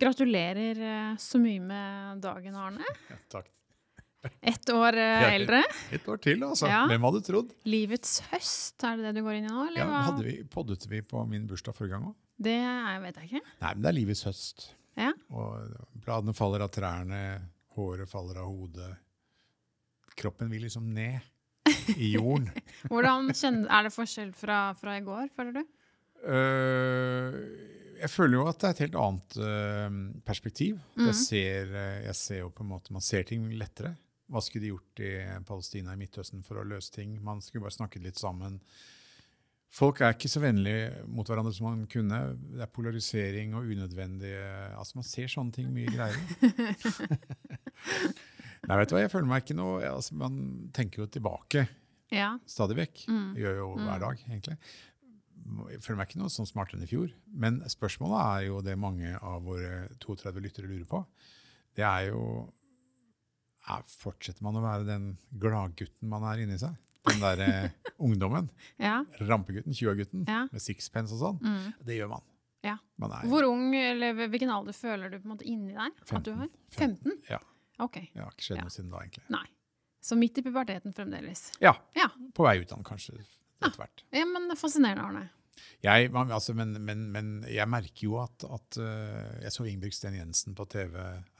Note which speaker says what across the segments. Speaker 1: Gratulerer eh, så mye med dagen, Arne.
Speaker 2: Ja, takk.
Speaker 1: Ett år eh,
Speaker 2: Ja,
Speaker 1: eldre.
Speaker 2: Et år til, altså.
Speaker 1: Ja.
Speaker 2: Hvem hadde trodd?
Speaker 1: Livets høst, er det det du går inn i nå? Eller?
Speaker 2: Ja,
Speaker 1: hva?
Speaker 2: hadde vi, poddet vi på min bursdag forrige gang òg?
Speaker 1: Det er, vet jeg ikke.
Speaker 2: Nei, men det er livets høst.
Speaker 1: Ja.
Speaker 2: Og bladene faller av trærne, håret faller av hodet. Kroppen vil liksom ned i jorden.
Speaker 1: Hvordan kjenner, Er det forskjell fra, fra i går, føler du?
Speaker 2: Øh, jeg føler jo at det er et helt annet øh, perspektiv. At
Speaker 1: Mhm.
Speaker 2: Jeg, ser, øh, jeg ser jo på en måte, Man ser ting lettere. Hva skulle de gjort i Palestina i Midtøsten for å løse ting? Man skulle bare snakket litt sammen. Folk er ikke så vennlige mot hverandre som man kunne. Det er polarisering og unødvendig Altså, man ser sånne ting mye greiere. Nei, vet du hva, jeg føler meg ikke noe altså, Man tenker jo tilbake
Speaker 1: Ja.
Speaker 2: stadig vekk.
Speaker 1: Mm.
Speaker 2: Jeg gjør jo
Speaker 1: Mm.
Speaker 2: hver dag, egentlig. Jeg føler meg ikke noe sånn smartere enn i fjor. Men spørsmålet er jo det mange av våre 32 lyttere lurer på. Det er jo er, Fortsetter man å være den gladgutten man er inni seg? Den derre ungdommen?
Speaker 1: ja.
Speaker 2: Rampegutten? 20-gutten?
Speaker 1: Ja.
Speaker 2: Med sixpence og sånn?
Speaker 1: Mm.
Speaker 2: Det gjør man.
Speaker 1: Ja.
Speaker 2: Man er
Speaker 1: Hvor ung, eller hvilken alder føler du på en måte inni deg? At du har? 15?
Speaker 2: Ja.
Speaker 1: Ok.
Speaker 2: Det har ikke skjedd
Speaker 1: Ja.
Speaker 2: noe siden da, egentlig.
Speaker 1: Nei. Så midt i puberteten fremdeles.
Speaker 2: Ja.
Speaker 1: Ja. Ah.
Speaker 2: På vei ut av den, kanskje. Etter hvert.
Speaker 1: Ja, men det er Fascinerende, Arne.
Speaker 2: Jeg, man, altså, men, men, men jeg merker jo at, at øh, Jeg så Ingebrigt Sten Jensen på TV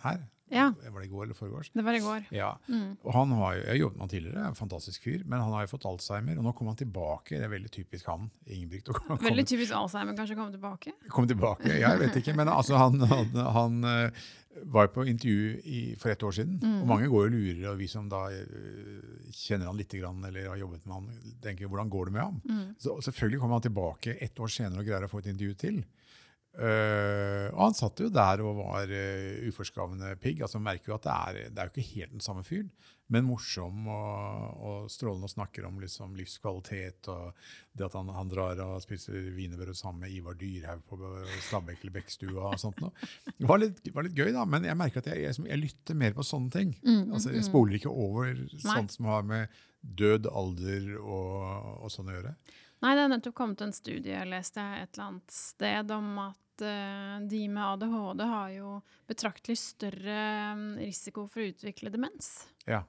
Speaker 2: her.
Speaker 1: Ja.
Speaker 2: Var det i går eller foregårs?
Speaker 1: Det var i går.
Speaker 2: Ja.
Speaker 1: Mm.
Speaker 2: Og han har jo, jeg har jobbet med han tidligere, er en fantastisk fyr, men han har jo fått alzheimer. Og nå kom han tilbake. Det er veldig typisk han, Ingebrigt. å komme-
Speaker 1: Veldig typisk Alzheimer kanskje å komme tilbake.
Speaker 2: kom tilbake, jeg vet ikke, men altså han, han, han eh, var på intervju i, for et år siden,
Speaker 1: Mm.
Speaker 2: og mange går jo lurer, og vi som da eh, kjenner han litt, grann, eller har jobbet med han, tenker jo, hvordan går det med ham?
Speaker 1: Mm.
Speaker 2: Så selvfølgelig kommer han tilbake et år senere og greier å få et intervju til. Eh, og han satt jo der og var uh, uforskavende pigg, altså man merker jo at det er, det er jo ikke helt den samme fyren, men morsom og, og strålende og snakker om liksom, livskvalitet og det at han, han drar og spiser wienerbrød sammen med Ivar Dyrhaug på Stabekk eller Bekkstua og sånt. Noe. Det var litt, var litt gøy, da, men jeg merker at jeg, jeg, jeg lytter mer på sånne ting.
Speaker 1: Mm,
Speaker 2: altså,
Speaker 1: Mm-hmm.
Speaker 2: jeg spoler ikke over sånt som har med død, alder og, og sånn å gjøre.
Speaker 1: Nei, det er nettopp kommet en studie, leste jeg et eller annet sted, om at eh, de med ADHD har jo betraktelig større mm, risiko for å utvikle demens.
Speaker 2: Ja.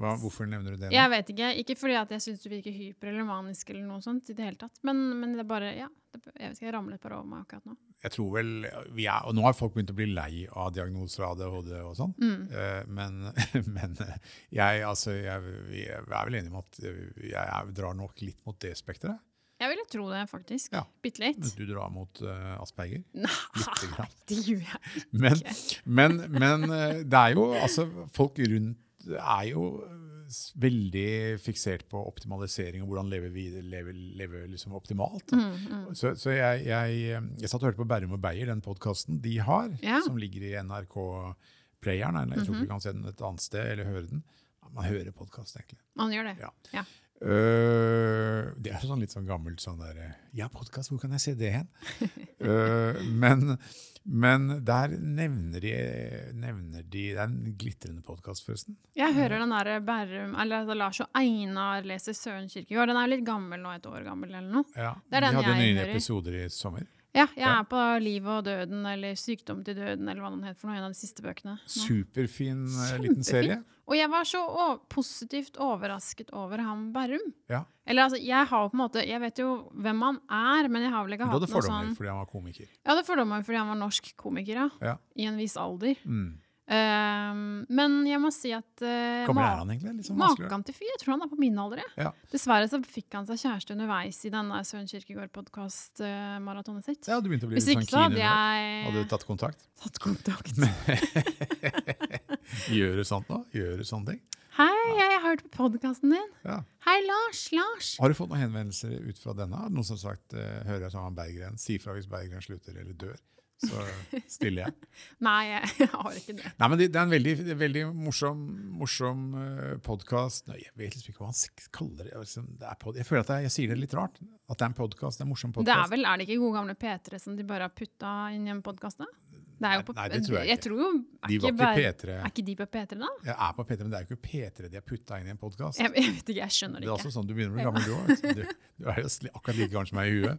Speaker 2: Hva, hvorfor nevner du det? nå?
Speaker 1: Jeg vet ikke. Ikke fordi at jeg syns du virker hyper eller manisk eller noe sånt i det hele tatt, men, men det er bare Ja. Det, jeg vet ikke, jeg ramlet bare over meg akkurat nå.
Speaker 2: jeg tror vel vi er, Og nå har folk begynt å bli lei av diagnoser av ADHD og sånn. Eh, men men jeg, altså, jeg, vi er vel enige om at eh, jeg er, drar nok litt mot det spekteret.
Speaker 1: Jeg ville tro det, faktisk.
Speaker 2: Ja.
Speaker 1: Bitte litt.
Speaker 2: Mens du drar mot eh, Asperger.
Speaker 1: Nei,
Speaker 2: Lite grann.
Speaker 1: det gjør jeg.
Speaker 2: Men, men, men eh, det er jo altså, Folk rundt er jo s- veldig fiksert på optimalisering og hvordan leve, videre, leve, leve liksom optimalt. Så, så jeg, jeg, eh, jeg satt og hørte på Berrum og Beyer, den podkasten de har,
Speaker 1: Ja. Mhm.
Speaker 2: som ligger i NRK-playeren. eller Jeg tror ikke du kan se den et annet sted eller høre den. Ja, Man hører podkast, egentlig.
Speaker 1: Man gjør det.
Speaker 2: Ja.
Speaker 1: Ja.
Speaker 2: Øh, det er jo sånn litt sånn gammelt sånn der eh, Ja, podkast, hvor kan jeg se det hen? Øh, men, men der nevner de, nevner de Det er en glitrende podkast, forresten.
Speaker 1: Jeg hører den derre Berrum Eller altså, Lars og Einar leser Søren Kirkegård. Den er litt gammel nå, et år gammel eller noe.
Speaker 2: Ja,
Speaker 1: Det er
Speaker 2: de
Speaker 1: den
Speaker 2: hadde
Speaker 1: jeg
Speaker 2: nye
Speaker 1: hører.
Speaker 2: episoder i sommer.
Speaker 1: Ja, jeg
Speaker 2: Ja.
Speaker 1: er på livet og døden, eller sykdom til døden, eller hva den het for noe, en av de siste bøkene. nå.
Speaker 2: Superfin eh, liten
Speaker 1: Kjempefin.
Speaker 2: serie.
Speaker 1: Og jeg var så o positivt overrasket over ham Berrum.
Speaker 2: Ja.
Speaker 1: Eller altså, jeg har jo på en måte, jeg vet jo hvem han er, men jeg har vel ikke
Speaker 2: Men Du
Speaker 1: hatt
Speaker 2: hadde
Speaker 1: noe
Speaker 2: fordommer
Speaker 1: sånn...
Speaker 2: fordi han var komiker.
Speaker 1: Jeg hadde fordommer fordi han var norsk komiker, ja.
Speaker 2: Ja.
Speaker 1: I en viss alder.
Speaker 2: Mm.
Speaker 1: Ehm, men jeg må si at uh,
Speaker 2: Kommer er han egentlig? Liksom, vanskeligere?
Speaker 1: Maken til fyr. Jeg tror han er på min alder. jeg.
Speaker 2: Ja.
Speaker 1: Dessverre så fikk han seg kjæreste underveis i denne Søren Kirkegård-podkast-maratonet sitt.
Speaker 2: ja, du begynte å bli
Speaker 1: Hvis
Speaker 2: litt sånn
Speaker 1: ikke så
Speaker 2: keen.
Speaker 1: hadde
Speaker 2: under det.
Speaker 1: jeg
Speaker 2: Hadde du tatt kontakt?
Speaker 1: tatt kontakt.
Speaker 2: Gjøre sånt nå? Gjøre sånne ting?
Speaker 1: Hei, jeg har hørt på podkasten din.
Speaker 2: Ja.
Speaker 1: Hei, Lars. Lars.
Speaker 2: Har du fått noen henvendelser ut fra denne? Er det Noen som har sagt eh, hører jeg sammen med Berggren, si fra hvis Berggren slutter eller dør. Så stiller jeg.
Speaker 1: Nei, jeg, jeg har ikke det.
Speaker 2: Nei, men Det, det er en veldig, det er en veldig morsom, morsom podkast. Jeg vet liksom ikke hva han s- kaller det. Liksom, det er pod jeg føler at jeg, jeg sier det litt rart. At det er en podkast. Det er en morsom
Speaker 1: Det er
Speaker 2: podkast.
Speaker 1: vel, er det ikke gode gamle P3 som de bare har putta inn i en podkast, da? Det er jo på,
Speaker 2: Nei, det tror jeg ikke.
Speaker 1: tror jo, er,
Speaker 2: De
Speaker 1: ikke
Speaker 2: var ikke
Speaker 1: bare,
Speaker 2: P3.
Speaker 1: er ikke de på P3, da?
Speaker 2: Jeg er på P3, men det er jo ikke P3 de har putta inn i en podkast.
Speaker 1: Jeg, jeg vet ikke, jeg skjønner
Speaker 2: Det er
Speaker 1: det
Speaker 2: også
Speaker 1: ikke.
Speaker 2: sånn du begynner å bli gammel, du òg. Du, du er jo sli- akkurat like gammel som meg i huet.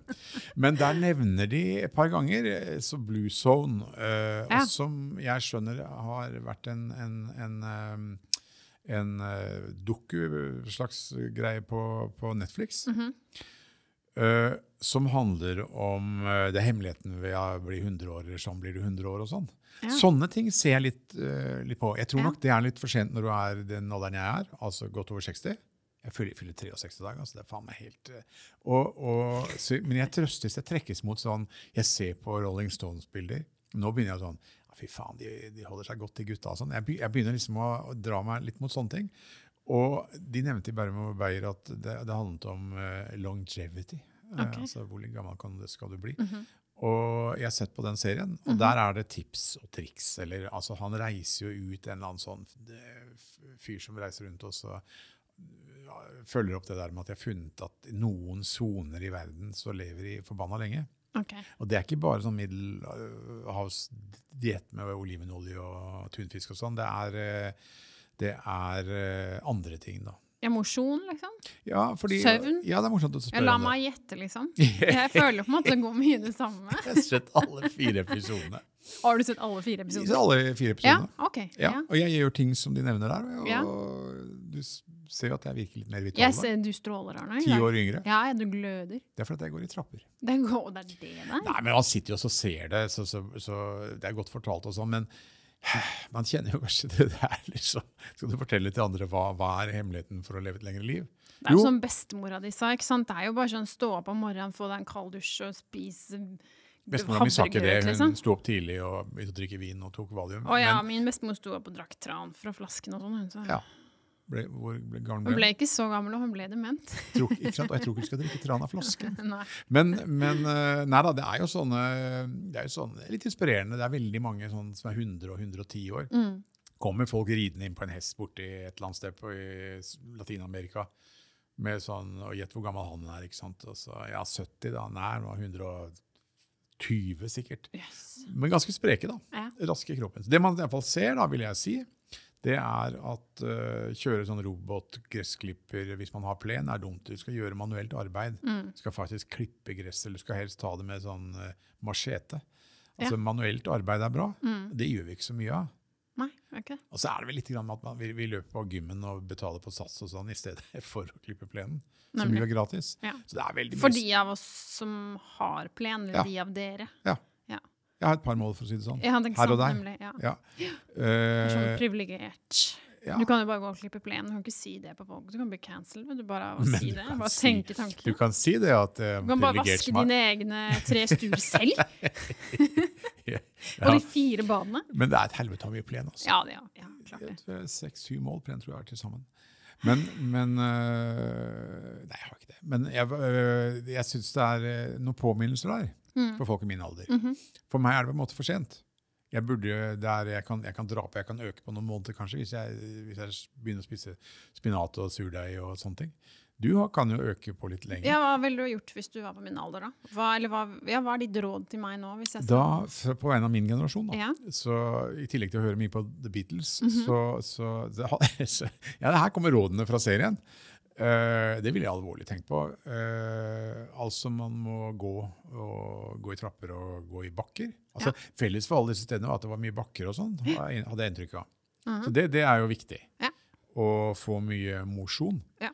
Speaker 2: Men der nevner de et par ganger, eh, så bl- Blue Zone, eh,
Speaker 1: Ja.
Speaker 2: og som jeg skjønner har vært en, en, en, eh, en eh, doku-slags greie på, på Netflix,
Speaker 1: Mhm.
Speaker 2: eh, som handler om eh, det er hemmeligheten ved å bli 100 år, eller sånn blir du 100 år og sånn.
Speaker 1: Ja.
Speaker 2: Sånne ting ser jeg litt, eh, litt på. Jeg tror
Speaker 1: Ja.
Speaker 2: nok det er litt for sent når du er den alderen jeg er, altså godt over 60. Jeg fyller, fyller 63 i dag. altså det er faen meg helt... eh, Og, og, så, men jeg trøstes, jeg trekkes mot sånn Jeg ser på Rolling Stones-bilder. Nå begynner jeg sånn ja, Fy faen, de, de holder seg godt, de gutta. og Sånn. Jeg, be- jeg begynner liksom å, å dra meg litt mot sånne ting. Og de nevnte i Bærum og Beyer at det, det handlet om eh, longevity. Eh,
Speaker 1: Ok.
Speaker 2: altså hvor gammel kan du, skal du bli? Og jeg har sett på den serien, og der er det tips og triks. Eller, altså, han reiser jo ut en eller annen sånn eh, f- fyr som reiser rundt og så følger opp det der med at jeg har funnet at i noen soner i verden så lever de forbanna lenge.
Speaker 1: Ok.
Speaker 2: Og det er ikke bare sånn middelhavsdiett med olivenolje og tunfisk og sånn. Det er, eh, det er eh, andre ting, da.
Speaker 1: Ja, mosjon, liksom?
Speaker 2: Ja, fordi,
Speaker 1: Søvn?
Speaker 2: Ja, det er morsomt å
Speaker 1: Ja,
Speaker 2: spørre
Speaker 1: la
Speaker 2: om det.
Speaker 1: meg gjette, liksom. Jeg føler på en måte det går mye det samme.
Speaker 2: Jeg har sett alle fire episodene.
Speaker 1: Har du sett alle fire
Speaker 2: Jeg har
Speaker 1: episoder?
Speaker 2: sett alle fire
Speaker 1: Ja,
Speaker 2: episodene.
Speaker 1: ok.
Speaker 2: Ja,
Speaker 1: Ja.
Speaker 2: og jeg gjør ting som de nevner der. Og
Speaker 1: Ja.
Speaker 2: du s- ser jo at jeg virker litt mer vital.
Speaker 1: Jeg
Speaker 2: da.
Speaker 1: ser du stråler, Arne. i
Speaker 2: Ti
Speaker 1: dag.
Speaker 2: år yngre.
Speaker 1: Ja, ja, du gløder.
Speaker 2: Det er fordi at jeg går i trapper.
Speaker 1: Det, går, det er det der.
Speaker 2: Nei, men han sitter jo og så ser det, så, så, så det er godt fortalt og sånn, men man kjenner jo kanskje det der, liksom. Skal du fortelle til andre hva, hva er hemmeligheten for å leve et lengre liv?
Speaker 1: Det er jo som bestemora di sa. ikke sant? Det er jo bare sånn stå opp om morgenen, få deg en kald dusj og spise
Speaker 2: bestemora mi sa ikke det.
Speaker 1: havregrøt,
Speaker 2: Hun
Speaker 1: liksom.
Speaker 2: sto opp tidlig og begynte å drikke vin og tok valium.
Speaker 1: Å ja,
Speaker 2: Men
Speaker 1: min bestemor sto opp og drakk tran fra flasken og sånn. Hun, så.
Speaker 2: Ja. ble, hvor ble gammel
Speaker 1: hun
Speaker 2: ble hun?
Speaker 1: ble ikke så gammel, og hun ble dement.
Speaker 2: Tror ikke- Ikke sant? Og jeg tror ikke hun skal drikke tran av flasken.
Speaker 1: Nei.
Speaker 2: Men, men eh, nei da, det er jo sånne, det er jo sånne det er litt inspirerende. Det er veldig mange sånn som er 100 og 110 år. Kommer folk ridende inn på en hest borti et eller annet sted på, i S- Latin-Amerika. Med sånn, og gjett hvor gammel han er, ikke sant? Og så, ja, 70 da, nei, han var 120 sikkert.
Speaker 1: Yes.
Speaker 2: Men ganske spreke da,
Speaker 1: Ja.
Speaker 2: raske i kroppen. Så det man i hvert fall ser da, vil jeg si, det er at eh, kjøre sånn robot-gressklipper hvis man har plen, er dumt. Du skal gjøre manuelt arbeid.
Speaker 1: Mm,
Speaker 2: Du skal faktisk klippe gress, eller du skal helst ta det med sånn eh, machete. Altså manuelt arbeid er bra. Det gjør vi ikke så mye av.
Speaker 1: mm. Nei, ok.
Speaker 2: Og så er det vel litt grann med at man, vi, vi løper på gymmen og betaler på sats og sånn i stedet for å klippe plenen, som
Speaker 1: Nemlig.
Speaker 2: jo er gratis.
Speaker 1: Ja.
Speaker 2: Så det er veldig mye.
Speaker 1: For de av oss som har plen, eller
Speaker 2: Ja.
Speaker 1: de av dere.
Speaker 2: Ja.
Speaker 1: Ja.
Speaker 2: Jeg har et par mål, for å si det sånn.
Speaker 1: Ja, det er ikke
Speaker 2: Her og
Speaker 1: sant,
Speaker 2: der.
Speaker 1: nemlig. Ja.
Speaker 2: Ja.
Speaker 1: Det er
Speaker 2: Eh,
Speaker 1: Sånn privilegert.
Speaker 2: ja.
Speaker 1: Du kan jo bare gå og klippe plenen. Du kan ikke si det på folk. Du kan bli cancelled ved bare å
Speaker 2: Men
Speaker 1: si
Speaker 2: du
Speaker 1: det.
Speaker 2: kan
Speaker 1: Bare
Speaker 2: si-
Speaker 1: tenke tankene.
Speaker 2: Du kan si det at eh,
Speaker 1: Du kan bare
Speaker 2: privilegert
Speaker 1: vaske
Speaker 2: smak-
Speaker 1: dine egne tre stuer selv, og
Speaker 2: ja.
Speaker 1: de fire badene.
Speaker 2: Men det er et helvete av mye plen. Altså.
Speaker 1: Ja, det, ja. ja klart det.
Speaker 2: Seks-syv eh, mål plen tror jeg er til sammen. Men, men øh, Nei, jeg har ikke det. Men jeg, øh, jeg syns det er øh, noen påminnelser der
Speaker 1: Mm.
Speaker 2: for folk i min alder.
Speaker 1: Mhm.
Speaker 2: For meg er det på en måte for sent. Jeg, burde, der, jeg, kan, jeg kan dra på, jeg kan øke på noen måneder kanskje, hvis jeg, hvis jeg begynner å spise spinat og surdeig og sånne ting. Du har- kan jo øke på litt lenger.
Speaker 1: Ja, hva ville du gjort hvis du var på min alder, da? Hva, eller hva, ja, hva er ditt råd til meg nå? Hvis jeg skal?
Speaker 2: Da, f- på vegne av min generasjon, da,
Speaker 1: Ja.
Speaker 2: så i tillegg til å høre mye på The Beatles, så, så det, har- så- Ja, her kommer rådene fra serien. Eh, det ville jeg alvorlig tenkt på. Eh, altså, man må gå, og, gå i trapper og gå i bakker. Altså, Felles for alle disse stedene var at det var mye bakker og sånn, har jeg- hadde jeg inntrykk av. Så det, det er jo viktig.
Speaker 1: Ja.
Speaker 2: Å få mye mosjon.
Speaker 1: Ja.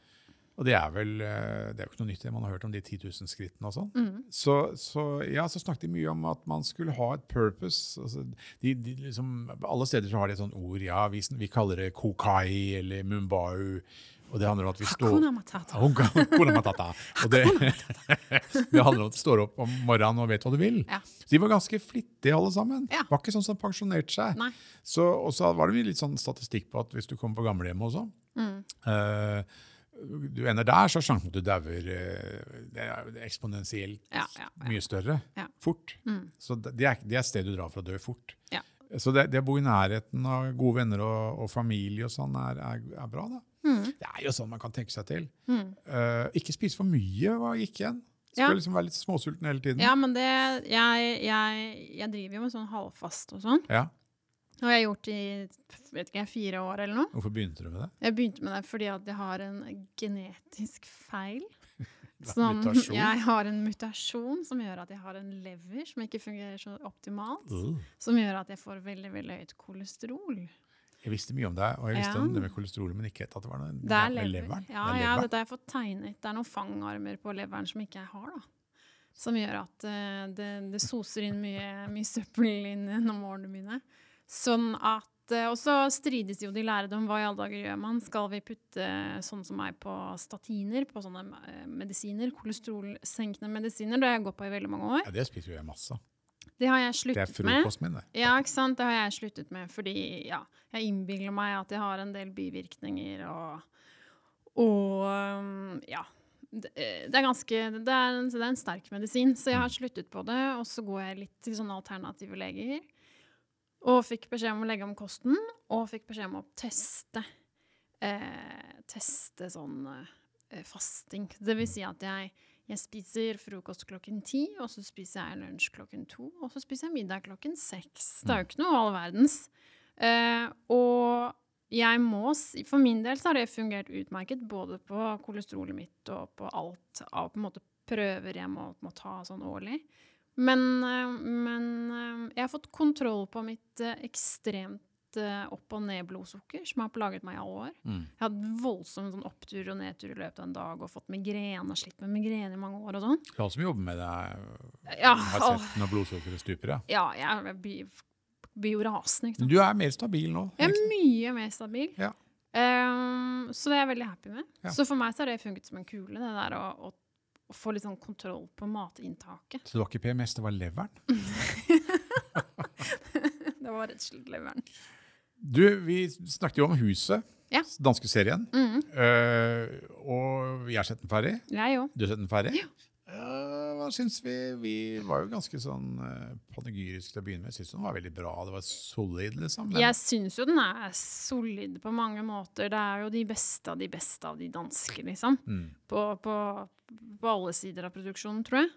Speaker 2: Og det er vel eh, det er jo ikke noe nytt, det man har hørt om de 10 000 skrittene og sånn.
Speaker 1: Mhm.
Speaker 2: Så, så, ja, så snakket de mye om at man skulle ha et purpose. Altså, de, de, liksom, alle steder så har de et sånt ord. Ja, vi, sn- vi kaller det kokai eller mumbau. Og det handler om at vi står
Speaker 1: Hakuna matata.
Speaker 2: Hakuna- Hakuna matata. Og det, det handler om at du står opp om morgenen og vet hva du vil.
Speaker 1: Ja.
Speaker 2: Så de var ganske flittige alle sammen.
Speaker 1: Ja.
Speaker 2: Var ikke sånn som pensjonerte seg.
Speaker 1: Nei.
Speaker 2: Så, og så var det litt sånn statistikk på at hvis du kommer på gamlehjemmet også,
Speaker 1: Mm.
Speaker 2: eh, du ender der, så er sjansen for at du dauer eh, det er jo eksponentielt
Speaker 1: Ja, ja, ja.
Speaker 2: mye større.
Speaker 1: Ja. Mm.
Speaker 2: Fort. Så det det er, det er stedet du drar for å dø fort.
Speaker 1: Ja.
Speaker 2: Så det, det å bo i nærheten av gode venner og, og familie og sånn er, er, er bra, da.
Speaker 1: Mm.
Speaker 2: Det er jo sånn man kan tenke seg til. Eh, ikke spise for mye, hva gikk igjen? Skal
Speaker 1: Ja.
Speaker 2: liksom være litt småsulten hele tiden.
Speaker 1: Ja, men det jeg, jeg, jeg driver jo med sånn halvfast og sånn.
Speaker 2: Ja.
Speaker 1: Det har jeg gjort i vet ikke, jeg, fire år eller noe.
Speaker 2: Hvorfor begynte du med det?
Speaker 1: Jeg begynte med det fordi at jeg har en genetisk feil. Som,
Speaker 2: Mutasjon?
Speaker 1: jeg har en mutasjon som gjør at jeg har en lever som ikke fungerer så optimalt.
Speaker 2: Øh.
Speaker 1: Som gjør at jeg får veldig veldig høyt kolesterol.
Speaker 2: Jeg visste mye om deg, og jeg visste
Speaker 1: Ja.
Speaker 2: om det med kolesterol, men ikke at det var noe
Speaker 1: Det er lever.
Speaker 2: med leveren.
Speaker 1: Ja,
Speaker 2: det er
Speaker 1: ja,
Speaker 2: leveren.
Speaker 1: dette har jeg fått tegnet. Det er noen fangarmer på leveren som ikke jeg har. da. Som gjør at eh, det, det soser inn mye, mye søppel inn gjennom årene mine. Sånn at, eh, Og så strides jo de lærde om hva i alle dager gjør man. Skal vi putte sånn som meg på statiner, på sånne eh, medisiner, kolesterolsenkende medisiner? Det har jeg gått på i veldig mange år.
Speaker 2: Ja, det spiser jo jeg masse av.
Speaker 1: Det har jeg
Speaker 2: Det er
Speaker 1: sluttet med.
Speaker 2: frokosten min, det.
Speaker 1: Ja, ikke sant? Det har jeg sluttet med, fordi ja, jeg innbiller meg at jeg har en del bivirkninger og Og um, ja. Det, eh, det er ganske det er, en, det er en sterk medisin, så jeg har sluttet på det. Og så går jeg litt til sånne alternative leger. Og fikk beskjed om å legge om kosten, og fikk beskjed om å teste. Eh, teste sånn eh, fasting. Det vil si at jeg, jeg spiser frokost klokken ti, og så spiser jeg lunsj klokken to, og så spiser jeg middag klokken seks. Det er jo ikke noe all verdens. Eh, og jeg må si, for min del så har det fungert utmerket både på kolesterolet mitt og på alt av på en måte prøver jeg må, må ta sånn årlig. Men, eh, men eh, jeg har fått kontroll på mitt eh, ekstremt eh, opp- og ned-blodsukker, som har plaget meg i alle år.
Speaker 2: Mm.
Speaker 1: Jeg har hatt voldsom sånn opptur og nedtur i løpet av en dag og fått migrene og slitt med migrene i mange år og sånn.
Speaker 2: Det er han som jobber med det,
Speaker 1: Ja,
Speaker 2: har
Speaker 1: åh,
Speaker 2: sett når blodsukkeret stuper, ja.
Speaker 1: ja jeg blir blir jo rasende, ikke sant.
Speaker 2: Men du er mer stabil nå.
Speaker 1: Jeg
Speaker 2: ikke?
Speaker 1: er mye mer stabil.
Speaker 2: Mm. Ja.
Speaker 1: Ehm, så det er jeg veldig happy med.
Speaker 2: Ja.
Speaker 1: Så for meg så har det funket som en kule, det der å, å, å få litt sånn kontroll på matinntaket.
Speaker 2: Så det var ikke PMS, det var leveren.
Speaker 1: Det var rett og slett leveren.
Speaker 2: Du, vi snakket jo om Huset,
Speaker 1: Ja.
Speaker 2: danske serien.
Speaker 1: Mm,
Speaker 2: Eh, og jeg har sett den ferdig.
Speaker 1: jeg òg.
Speaker 2: Du har sett den ferdig? Ja. hva syns vi? Vi var jo ganske sånn uh, panegyrisk til å begynne med. Jeg syns den var veldig bra. Det var solid, liksom. Men
Speaker 1: Jeg syns jo den er solid på mange måter. Det er jo de beste av de beste av de danske, liksom.
Speaker 2: Mm.
Speaker 1: På, på, på alle sider av produksjonen, tror jeg.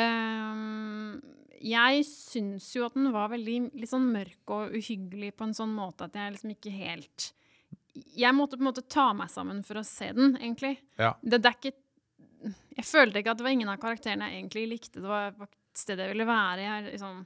Speaker 1: Ehm, jeg syns jo at den var veldig litt sånn mørk og uhyggelig på en sånn måte at jeg liksom ikke helt Jeg måtte på en måte ta meg sammen for å se den, egentlig.
Speaker 2: Ja.
Speaker 1: Det, det er ikke Jeg følte ikke at det var ingen av karakterene jeg egentlig likte. Det var var et sted jeg ville være. Jeg liksom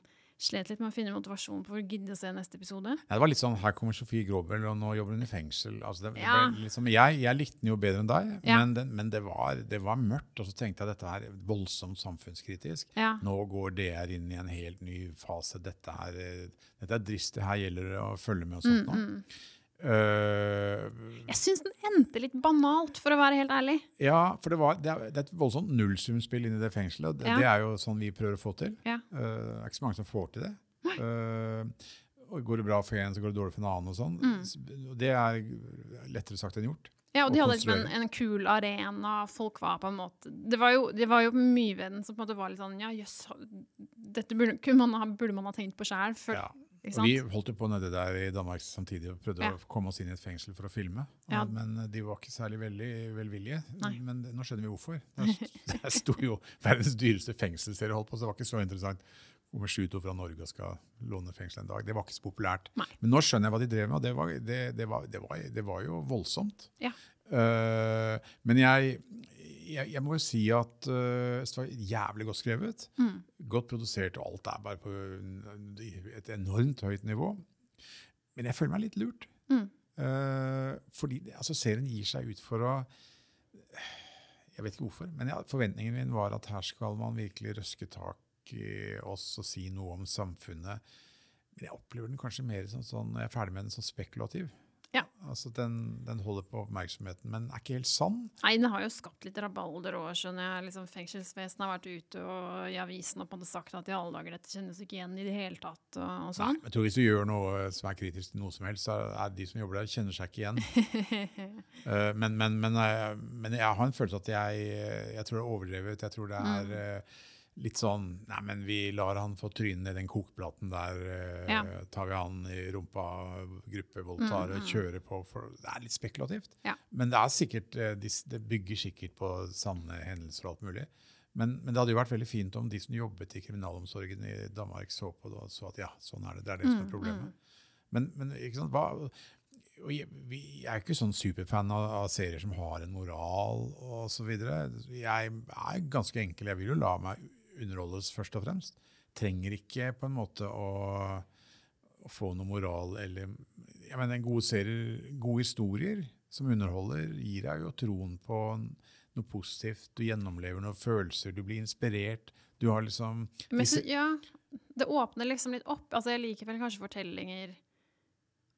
Speaker 1: slet litt med å finne motivasjon for å gidde å se neste episode.
Speaker 2: Nei, det var litt sånn Her kommer Sofie Gråbel, og nå jobber hun i fengsel. Altså, det,
Speaker 1: Ja.
Speaker 2: det ble liksom, jeg, jeg likte den jo bedre enn deg,
Speaker 1: Ja.
Speaker 2: men, den, men det, var, det var mørkt. Og så tenkte jeg dette her er voldsomt samfunnskritisk.
Speaker 1: Ja.
Speaker 2: Nå går DR inn i en helt ny fase. Dette er, eh, dette er dristig. Her gjelder det å følge med og sånt nå. Eh,
Speaker 1: Mm, Jeg syns den endte litt banalt, for å være helt ærlig.
Speaker 2: Ja, for det, var, det, er, det er et voldsomt nullsumspill inni det fengselet. og Det,
Speaker 1: Ja.
Speaker 2: det er jo sånn vi prøver å få til.
Speaker 1: Ja.
Speaker 2: Eh, det er ikke så mange som får til det. Eh, og går det bra for en, så går det dårlig for en annen. og sånn.
Speaker 1: Mm.
Speaker 2: S- og Det er lettere sagt enn gjort.
Speaker 1: Ja, og de
Speaker 2: Og
Speaker 1: hadde liksom en, en kul arena, folk var på en måte Det var jo, det var jo mye ved den som på en måte var litt sånn Ja, jøss, dette burde, kunne man ha, burde man ha tenkt på sjæl.
Speaker 2: Ja.
Speaker 1: Ikke
Speaker 2: Og vi
Speaker 1: sant?
Speaker 2: holdt jo på nede der i Danmark samtidig og prøvde
Speaker 1: Ja.
Speaker 2: å komme oss inn i et fengsel for å filme.
Speaker 1: Ja.
Speaker 2: Men de var ikke særlig veldig velvillige.
Speaker 1: Nei.
Speaker 2: Men det- nå skjønner vi hvorfor. Der, der sto jo verdens dyreste fengselsserie holdt på, så det var ikke så interessant. Kommer sju to fra Norge og skal låne fengsel en dag. Det var ikke så populært.
Speaker 1: Nei.
Speaker 2: Men nå skjønner jeg hva de drev med, og det var, det, det var, det var, det var jo voldsomt.
Speaker 1: Ja.
Speaker 2: Eh, men jeg, jeg, jeg må jo si at eh, det var jævlig godt skrevet. Godt produsert, og alt er bare på en- et enormt høyt nivå. Men jeg føler meg litt lurt.
Speaker 1: Mm.
Speaker 2: Eh, fordi det- altså, serien gir seg ut for å Jeg vet ikke hvorfor, men ja, forventningen min var at her skal man virkelig røske tak i oss og si noe om samfunnet. Men jeg opplever den kanskje mer som sånn, når jeg er ferdig med den, som spekulativ.
Speaker 1: Ja.
Speaker 2: Altså, den, den holder på oppmerksomheten, men er ikke helt sann.
Speaker 1: Nei, den har jo skapt litt rabalder òg, skjønner jeg. Liksom, Fengselsvesenet har vært ute og i avisen og på en måte sagt at i alle dager, dette kjennes ikke igjen i det hele tatt, og, og sånn.
Speaker 2: Jeg tror Hvis du gjør noe eh, som er kritisk til noe som helst, så er de som jobber der, kjenner seg ikke igjen. Eh, men, men, men, eh, men jeg har en følelse at jeg, eh, jeg tror det er overdrevet. Jeg tror det er
Speaker 1: Mm.
Speaker 2: eh, litt sånn Nei, men vi lar han få trynet ned den kokeplaten der. eh,
Speaker 1: Ja. Mm,
Speaker 2: Tar vi han i rumpa, gruppevoldtar og kjører på. For, det er litt spekulativt.
Speaker 1: Ja.
Speaker 2: Men det, er sikkert, eh, de, s- det bygger sikkert på sanne hendelser og alt mulig. Men, men det hadde jo vært veldig fint om de som jobbet i kriminalomsorgen i
Speaker 1: Mm,
Speaker 2: Danmark, så på det og så at ja, sånn er det. Det er det som er problemet. Men, men ikke sant? Hva, og jeg, vi, jeg er ikke sånn superfan av, av serier som har en moral osv. Jeg er ganske enkel. Jeg vil jo la meg underholdes først og fremst. Trenger ikke på en måte å, å få noe moral eller jeg mener, gode, serier, gode historier som underholder, gir deg jo troen på noe positivt. Du gjennomlever noen følelser, du blir inspirert. Du har liksom
Speaker 1: Men
Speaker 2: disse-
Speaker 1: så, ja, det åpner liksom litt opp. Altså, jeg liker vel kanskje fortellinger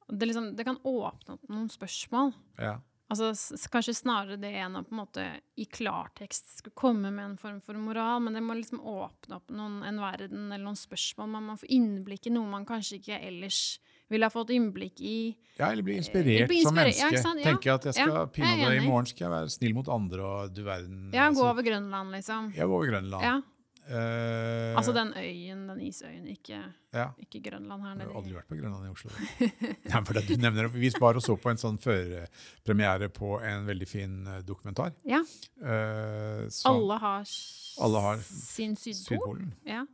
Speaker 1: det, liksom, det kan åpne opp noen spørsmål.
Speaker 2: ja.
Speaker 1: Altså, s- s- kanskje snarere det enn å på en måte i klartekst skulle komme med en form for moral, men det må liksom åpne opp noen, en verden eller noen spørsmål. Man må få innblikk i noe man kanskje ikke ellers ville ha fått innblikk i.
Speaker 2: Ja, eller bli inspirert
Speaker 1: Eh, bli
Speaker 2: som
Speaker 1: inspirert,
Speaker 2: menneske.
Speaker 1: ja, ikke sant? Ja,
Speaker 2: Tenke at jeg skal
Speaker 1: ja, jeg er
Speaker 2: pinadø i
Speaker 1: enig.
Speaker 2: morgen skal jeg være snill mot andre og du verden
Speaker 1: Ja, gå
Speaker 2: altså,
Speaker 1: over Grønland, liksom.
Speaker 2: Jeg går over Grønland.
Speaker 1: Ja,
Speaker 2: Eh,
Speaker 1: altså den øyen, den isøyen, ikke,
Speaker 2: ja.
Speaker 1: ikke Grønland her
Speaker 2: Jeg har aldri
Speaker 1: nede. i-
Speaker 2: vært på Grønland i Oslo. Nei, for det du nevner, det. Vi var og så på en sånn førpremiere på en veldig fin eh, dokumentar.
Speaker 1: Ja,
Speaker 2: eh, som-
Speaker 1: alle har, s-
Speaker 2: Alle har
Speaker 1: sin sydpol.
Speaker 2: Sydpolen.
Speaker 1: Ja,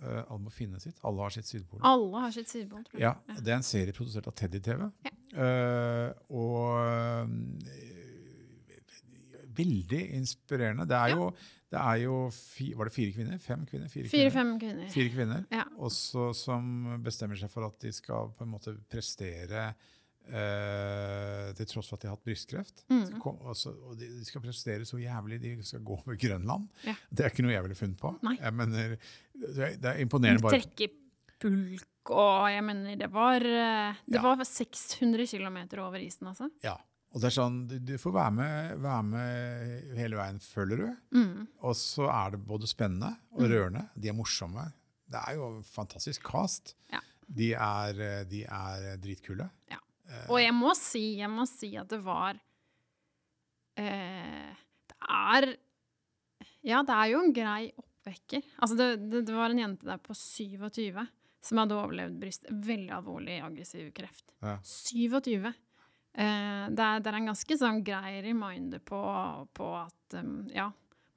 Speaker 2: Eh, alle må finne sitt. Alle har sitt Sydpolen.
Speaker 1: alle har sitt sydpol, tror jeg.
Speaker 2: Ja, det er en serie produsert av Teddy TV. Eh, og eh, veldig inspirerende. Det er jo, det er jo fi, Var det fire kvinner? Fem kvinner? Fire, kvinner.
Speaker 1: Fire-fem kvinner.
Speaker 2: Fire kvinner
Speaker 1: Ja.
Speaker 2: også som bestemmer seg for at de skal på en måte prestere eh, til tross for at de har hatt brystkreft. Så kom, og så- og de, de skal prestere så jævlig. De skal gå over Grønland.
Speaker 1: Ja.
Speaker 2: Det er ikke noe jeg ville funnet på.
Speaker 1: Nei.
Speaker 2: Jeg mener, det er- det er imponerende bare
Speaker 1: Trekke i pulk og Jeg mener, det var eh, Det
Speaker 2: Ja.
Speaker 1: var 600 km over isen, altså.
Speaker 2: Ja. Og det er sånn, du, du får være med, være med hele veien, følger du. Og så er det både spennende og
Speaker 1: Mm.
Speaker 2: rørende. De er morsomme. Det er jo en fantastisk cast.
Speaker 1: Ja.
Speaker 2: De, er, eh, de er dritkule. Eh,
Speaker 1: Og jeg må si, jeg må si at det var eh, Det er Ja, det er jo en grei oppvekker. Altså, det, det, det var en jente der på 27 som hadde overlevd bryst. Veldig alvorlig aggressiv kreft.
Speaker 2: Ja.
Speaker 1: 27. Eh, det, er, det er en ganske sånn grei reminder på, på at um, ja,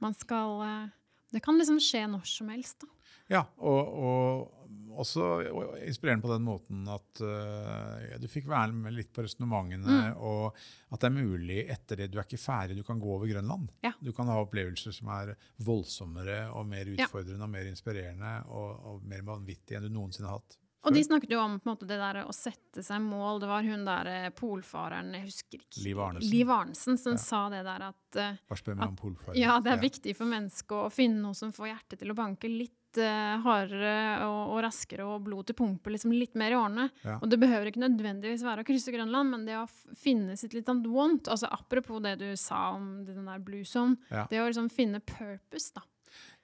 Speaker 1: man skal eh, Det kan liksom skje når som helst, da.
Speaker 2: Ja, og, og også og inspirerende på den måten at eh, ja, du fikk være med litt på
Speaker 1: Mm.
Speaker 2: resonnementene, og at det er mulig etter det. Du er ikke ferdig, du kan gå over Grønland.
Speaker 1: Ja.
Speaker 2: Du kan ha opplevelser som er voldsommere og mer
Speaker 1: Ja.
Speaker 2: utfordrende og mer inspirerende og, og mer vanvittige enn du noensinne har hatt.
Speaker 1: Og
Speaker 2: før.
Speaker 1: de snakket jo om på en måte, det der å sette seg mål. Det var hun der eh, polfareren jeg husker ikke.
Speaker 2: Liv Arnesen.
Speaker 1: Liv Arnesen som
Speaker 2: Ja.
Speaker 1: sa det der at eh,
Speaker 2: Bare spør meg om polfaring.
Speaker 1: ja, det er viktig for mennesket å finne noe som får hjertet til å banke litt eh, hardere og, og raskere, og blod til pumpe liksom litt mer i årene.
Speaker 2: Ja.
Speaker 1: Og det behøver ikke nødvendigvis være å krysse Grønland, men det å f- finne sitt litt sånn want, altså apropos det du sa om den der blue zone,
Speaker 2: Ja.
Speaker 1: det å liksom finne purpose, da.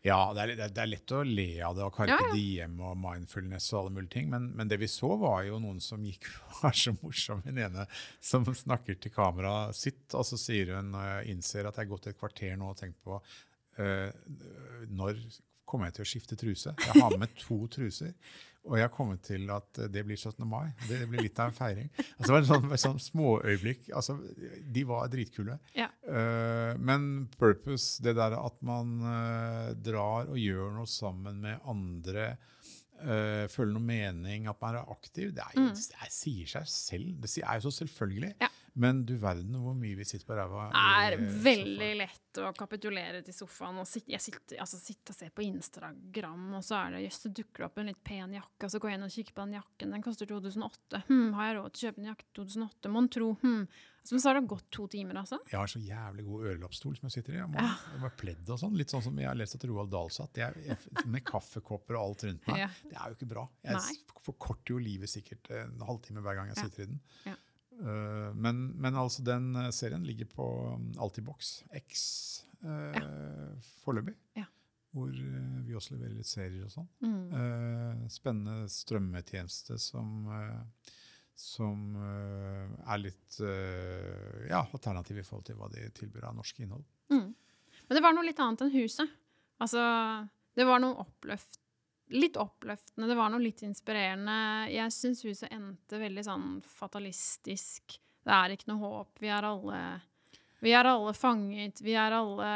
Speaker 2: Ja, det er, det er lett å le av det, og Carpe
Speaker 1: Ja, ja.
Speaker 2: Diem og mindfulness og alle mulige ting, men, men det vi så, var jo noen som gikk var så morsom. Hun ene som snakker til kameraet sitt, og så sier hun når jeg innser at jeg har gått et kvarter nå og tenkt på eh, når kommer jeg til å skifte truse? Jeg har med to truser. Og jeg har kommet til at det blir 17. mai. Det blir litt av en feiring. Altså, det var en sånn, sånn småøyeblikk. Altså, de var dritkule.
Speaker 1: Ja.
Speaker 2: Eh, men purpose, det der at man eh, drar og gjør noe sammen med andre, eh, føler noe mening, at man er aktiv, det, er, jo- det er, sier seg selv. Det sier- er jo så selvfølgelig.
Speaker 1: Mm. Ja.
Speaker 2: Men du verden hvor mye vi sitter på ræva. eh, i
Speaker 1: er
Speaker 2: sofaen.
Speaker 1: veldig lett å kapitulere til sofaen. og sitte, Jeg sitter, altså, sitter og ser på Instagram, og så er det, jøss, det dukker opp en litt pen jakke. og Så går jeg inn og kikker på den jakken. Den koster 2008. Hm, har jeg råd til å kjøpe en jakke til 2008? Mon tro. Hm. Altså, men så har det gått to timer, altså.
Speaker 2: Jeg har så jævlig god ørelappstol som jeg sitter i. om morgenen. Jeg var pledd og sånn, Litt sånn som jeg har lest at Roald Dahl satt. Jeg, jeg, med kaffekopper og alt rundt meg.
Speaker 1: Ja.
Speaker 2: Det er jo ikke bra. Jeg
Speaker 1: Nei.
Speaker 2: s- forkorter jo livet sikkert en halvtime hver gang
Speaker 1: Ja.
Speaker 2: jeg sitter i den.
Speaker 1: Ja.
Speaker 2: Eh, men, men altså, den eh, serien ligger på um, Altibox X uh, foreløpig.
Speaker 1: Ja.
Speaker 2: Hvor eh, vi også leverer litt serier og sånn.
Speaker 1: Mm.
Speaker 2: Eh, spennende strømmetjeneste som, eh, som eh, er litt eh, ja, alternativ i forhold til hva de tilbyr av norsk innhold.
Speaker 1: Mm. Men det var noe litt annet enn huset. Altså, det var noe oppløft, litt oppløftende, det var noe litt inspirerende. Jeg syns huset endte veldig sånn fatalistisk. Det er ikke noe håp. Vi er alle, vi er alle fanget. Vi er alle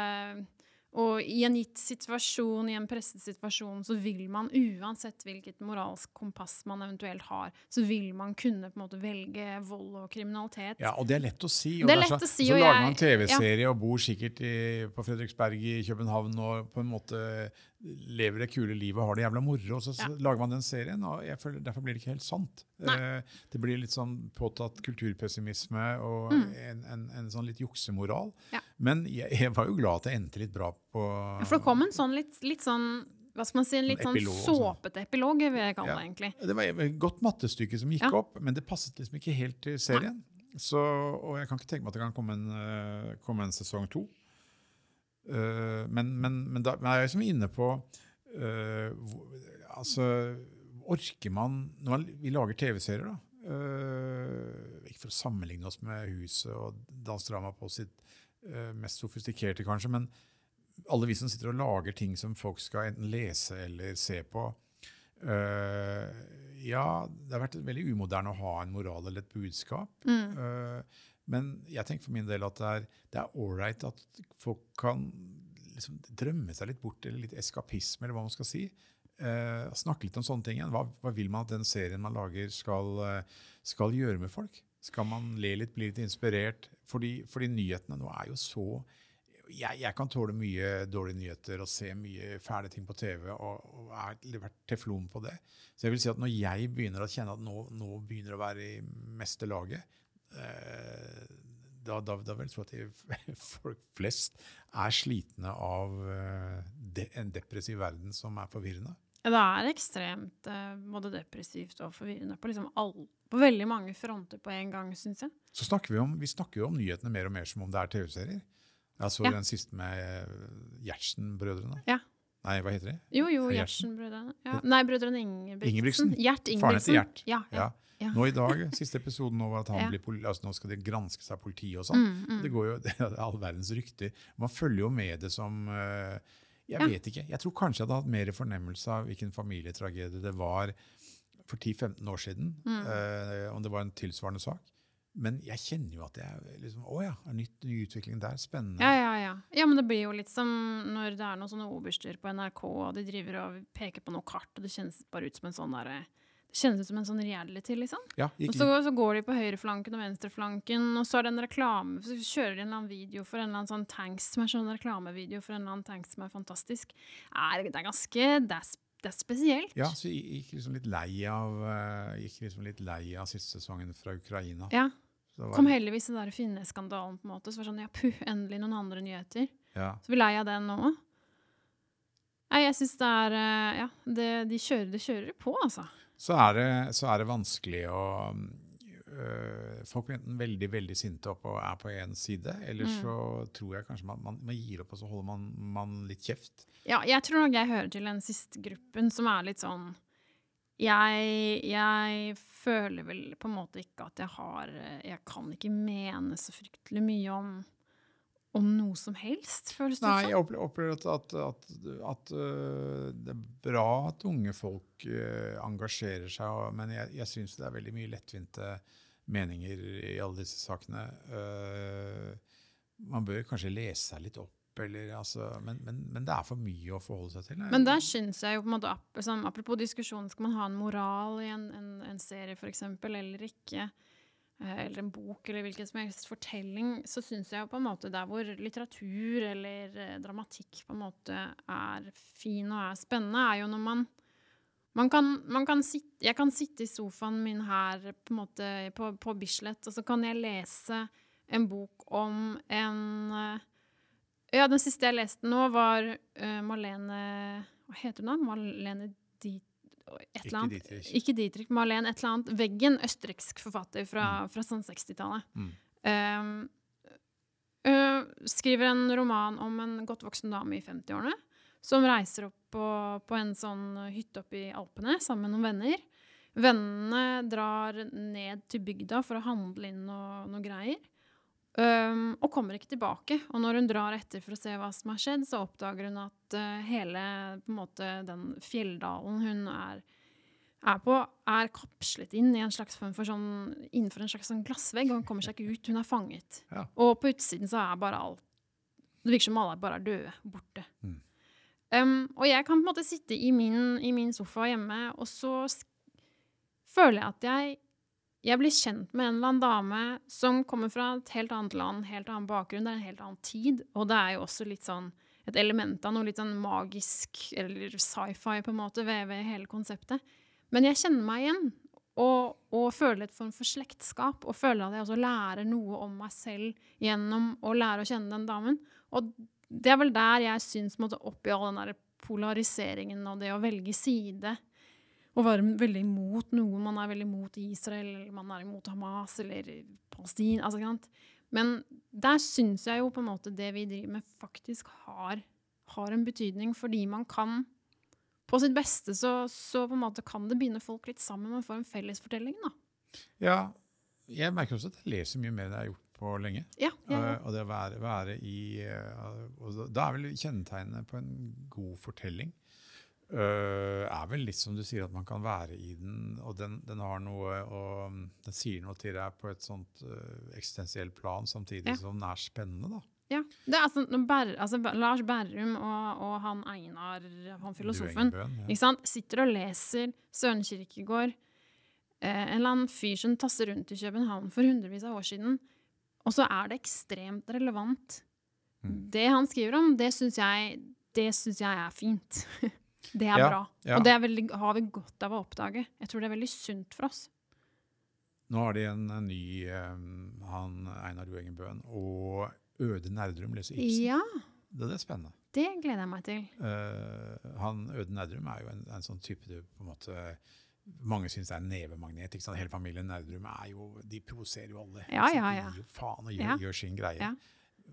Speaker 1: Og i en gitt situasjon, i en presset situasjon, så vil man uansett hvilket moralsk kompass man eventuelt har, så vil man kunne på en måte velge vold og kriminalitet.
Speaker 2: Ja, og det er lett å si.
Speaker 1: Det er
Speaker 2: så-
Speaker 1: lett å si,
Speaker 2: Så
Speaker 1: og
Speaker 2: lager
Speaker 1: jeg-
Speaker 2: man TV-serie og bor sikkert i, på Fredriksberg i København og på en måte lever det kule livet og har det jævla moro, og så, så
Speaker 1: Ja.
Speaker 2: lager man den serien, og jeg føler, derfor blir det ikke helt sant.
Speaker 1: Nei.
Speaker 2: Eh, det blir litt sånn påtatt kulturpessimisme og en, en, en sånn litt juksemoral.
Speaker 1: Mm. Ja.
Speaker 2: Men jeg, jeg var jo glad at det endte litt bra på
Speaker 1: Ja, For det kom en sånn litt, litt sånn hva skal man si, en litt sånn
Speaker 2: Epilog, sånn.
Speaker 1: såpete epilog, vil jeg kalle
Speaker 2: Ja.
Speaker 1: det egentlig.
Speaker 2: Det var et godt mattestykke som gikk
Speaker 1: Ja.
Speaker 2: opp, men det passet liksom ikke helt til serien. Så, og jeg kan ikke tenke meg at det kan komme en, eh, komme en sesong to. Eh, men, men, men da men jeg er liksom inne på eh, hvor, Altså, orker man når man, Vi lager TV-serier, da. Eh, ikke for å sammenligne oss med Huset og Dans Drama på sitt eh, mest sofistikerte, kanskje, men alle vi som sitter og lager ting som folk skal enten lese eller se på, Eh, ja, det har vært veldig umoderne å ha en moral eller et budskap. Eh, men jeg tenker for min del at det er, det er ålreit at folk kan liksom drømme seg litt bort, eller litt eskapisme, eller hva man skal si. Eh, snakke litt om sånne ting igjen. Hva, hva vil man at den serien man lager, skal, eh, skal gjøre med folk? Skal man le litt, bli litt inspirert? Fordi, fordi nyhetene nå er jo så jeg, jeg kan tåle mye dårlige nyheter og se mye fæle ting på TV og, og er har vært teflon på det. Så jeg vil si at når jeg begynner å kjenne at nå, nå begynner det å være i meste laget, eh, da, da, da vil jeg tro at de, folk flest er slitne av eh, de, en depressiv verden som er forvirrende.
Speaker 1: Ja, Det er ekstremt eh, både depressivt og forvirrende på, liksom all, på veldig mange fronter på en gang, syns jeg.
Speaker 2: Så snakker vi, om, vi snakker jo om nyhetene mer og mer som om det er TV-serier. Jeg så
Speaker 1: Ja.
Speaker 2: den siste med eh, Gjertsen-brødrene.
Speaker 1: Ja.
Speaker 2: Nei, hva heter de?
Speaker 1: Jo, jo,
Speaker 2: Gjertsen.
Speaker 1: Gjertsen-brødrene. Ja. Nei, brødrene Ingebrigtsen.
Speaker 2: Ingebrigtsen.
Speaker 1: Gjert
Speaker 2: Faren
Speaker 1: Ingebrigtsen.
Speaker 2: heter Gjert.
Speaker 1: Ja, ja.
Speaker 2: Ja.
Speaker 1: Ja.
Speaker 2: Nå i dag, siste episoden nå var at han
Speaker 1: Ja. Mm,
Speaker 2: blir poli, altså nå skal de granske seg av politiet og sånn. Det går jo det er all verdens rykter. Man følger jo med det som eh, Jeg
Speaker 1: Ja.
Speaker 2: vet ikke. Jeg tror kanskje jeg hadde hatt mer fornemmelse av hvilken familietragedie det var for 10-15 år siden,
Speaker 1: Mm.
Speaker 2: eh, om det var en tilsvarende sak. Men jeg kjenner jo at jeg liksom, Å ja, er nytt, ny utvikling der. Spennende.
Speaker 1: Ja, ja, ja. Ja, men det blir jo litt som når det er noen sånne oberster på NRK, og de driver og peker på noe kart, og det kjennes bare ut som en sånn derre Det kjennes ut som en sånn reality, liksom.
Speaker 2: Ja, gikk-
Speaker 1: Og så, så går de på høyreflanken og venstreflanken, og så er det en reklame Så kjører de en eller annen video for en eller annen sånn tanks som er sånn reklamevideo for en eller annen tanks som er fantastisk. Er, det er ganske Det er, sp- det er spesielt.
Speaker 2: ja, så jeg gikk liksom litt lei av eh, gikk liksom litt lei av siste sesongen fra Ukraina.
Speaker 1: Ja.
Speaker 2: Så det var-
Speaker 1: Kom heldigvis den der finneskandalen, på en måte. Så var det sånn ja, puh, endelig noen andre nyheter.
Speaker 2: ja.
Speaker 1: Så vi er lei av den nå òg. Nei, jeg syns det er eh, Ja, det, de kjører det kjører på, altså.
Speaker 2: så er det, så er det vanskelig å øh, Folk blir enten veldig veldig sinte opp og er på én side, eller
Speaker 1: Mm.
Speaker 2: så tror jeg kanskje man, man, man gir opp og så holder man, man litt kjeft.
Speaker 1: Ja, jeg tror nok jeg hører til den siste gruppen som er litt sånn jeg, jeg føler vel på en måte ikke at jeg har eh, Jeg kan ikke mene så fryktelig mye om, om noe som helst, føles det
Speaker 2: Nei,
Speaker 1: ut
Speaker 2: jeg opple- opplever at, at, at, at øh, det er bra at unge folk øh, engasjerer seg, og- men jeg, jeg syns det er veldig mye lettvinte meninger i alle disse sakene. Øh, man bør kanskje lese seg litt opp, eller, altså, men, men, men det er for mye å forholde seg til. jeg-
Speaker 1: Men der syns jeg jo på en måte ap- sånn, Apropos diskusjonen, skal man ha en moral i en, en, en serie for eksempel, eller ikke? Eh, Eller en bok, eller hvilken som helst fortelling, så syns jeg jo på en måte der hvor litteratur eller eh, dramatikk på en måte er fin og er spennende, er jo når man man kan, man kan sitte, jeg kan sitte i sofaen min her på, en måte, på, på Bislett, og så kan jeg lese en bok om en eh, ja, den siste jeg leste nå, var eh, Marlene Hva heter hun da? Marlene Dit... Et eller
Speaker 2: Ikke
Speaker 1: annet.
Speaker 2: Dietrich.
Speaker 1: Ikke Dietrich. Marlene et eller annet. Veggen, østerriksk forfatter fra, fra sånn 60-tallet.
Speaker 2: Mm.
Speaker 1: Ehm, øh, skriver en roman om en godt voksen dame i 50-årene som reiser opp på, på en sånn hytte oppe i Alpene sammen med noen venner. Vennene drar ned til bygda for å handle inn noe, noe greier. Øhm, og kommer ikke tilbake. Og når hun drar etter for å se hva som har skjedd, så oppdager hun at øh, hele på en måte, den fjelldalen hun er, er på, er kapslet inn i en slags form for sånn, innenfor en slags sånn glassvegg. Og hun kommer seg ikke ut. Hun er fanget.
Speaker 2: Ja.
Speaker 1: Og på utsiden så er bare alt Det virker som alle bare er døde, borte.
Speaker 2: Mm.
Speaker 1: Um, og jeg kan på en måte sitte i min, i min sofa hjemme, og så sk- føler jeg at jeg, jeg blir kjent med en eller annen dame som kommer fra et helt annet land, helt annen bakgrunn, det er en helt annen tid. Og det er jo også litt sånn et element av noe litt sånn magisk eller sci-fi på en måte ved, ved hele konseptet. Men jeg kjenner meg igjen og, og føler et form for slektskap. Og føler at jeg også lærer noe om meg selv gjennom å lære å kjenne den damen. Og det er vel der jeg syns på en måte, oppi all den der polariseringen og det å velge side og være veldig imot noe. Man er veldig imot Israel, eller man er imot Hamas eller Palestina. Altså, ikke sant? Men der syns jeg jo på en måte det vi driver med, faktisk har, har en betydning, fordi man kan På sitt beste så, så på en måte kan det binde folk litt sammen, man får en fellesfortelling, da.
Speaker 2: Ja, jeg merker også at jeg leser mye mer enn jeg har gjort på lenge.
Speaker 1: Ja, ja, ja.
Speaker 2: Eh, og det å være, være i eh, og da- Da er vel kjennetegnet på en god fortelling eh, er vel litt som du sier, at man kan være i den, og den, den har noe og mm, Den sier noe til deg på et sånt eh, eksistensielt plan, samtidig
Speaker 1: Ja.
Speaker 2: som den er spennende, da.
Speaker 1: ja. Det er altså, når Ber, altså Ber- Lars Berrum og, og han Einar, han filosofen,
Speaker 2: Duengebøen, ja.
Speaker 1: Ikke sant? Sitter og leser Søren Kirkegaard. Eh, en eller annen fyr som tasser rundt i København for hundrevis av år siden. Og så er det ekstremt relevant.
Speaker 2: Mm.
Speaker 1: Det han skriver om, det syns jeg, det synes jeg er fint. det er
Speaker 2: Ja,
Speaker 1: bra.
Speaker 2: ja.
Speaker 1: Og det er veldig, har vi godt av å oppdage. Jeg tror det er veldig sunt for oss.
Speaker 2: Nå har de en, en ny eh, han Einar Duengebøen og Øde Nerdrum leser Ibsen.
Speaker 1: Ja,
Speaker 2: Det, det er spennende.
Speaker 1: det gleder jeg meg til.
Speaker 2: Eh, han Øden Nerdrum er jo en, en sånn type du på en måte mange syns er en nevemagnet. ikke sant? Hele familien Nerdrum er jo, de provoserer jo alle. ikke
Speaker 1: Ja,
Speaker 2: sant?
Speaker 1: ja,
Speaker 2: De
Speaker 1: ja.
Speaker 2: gir jo faen og gjør,
Speaker 1: Ja.
Speaker 2: gjør sin greie.
Speaker 1: Ja.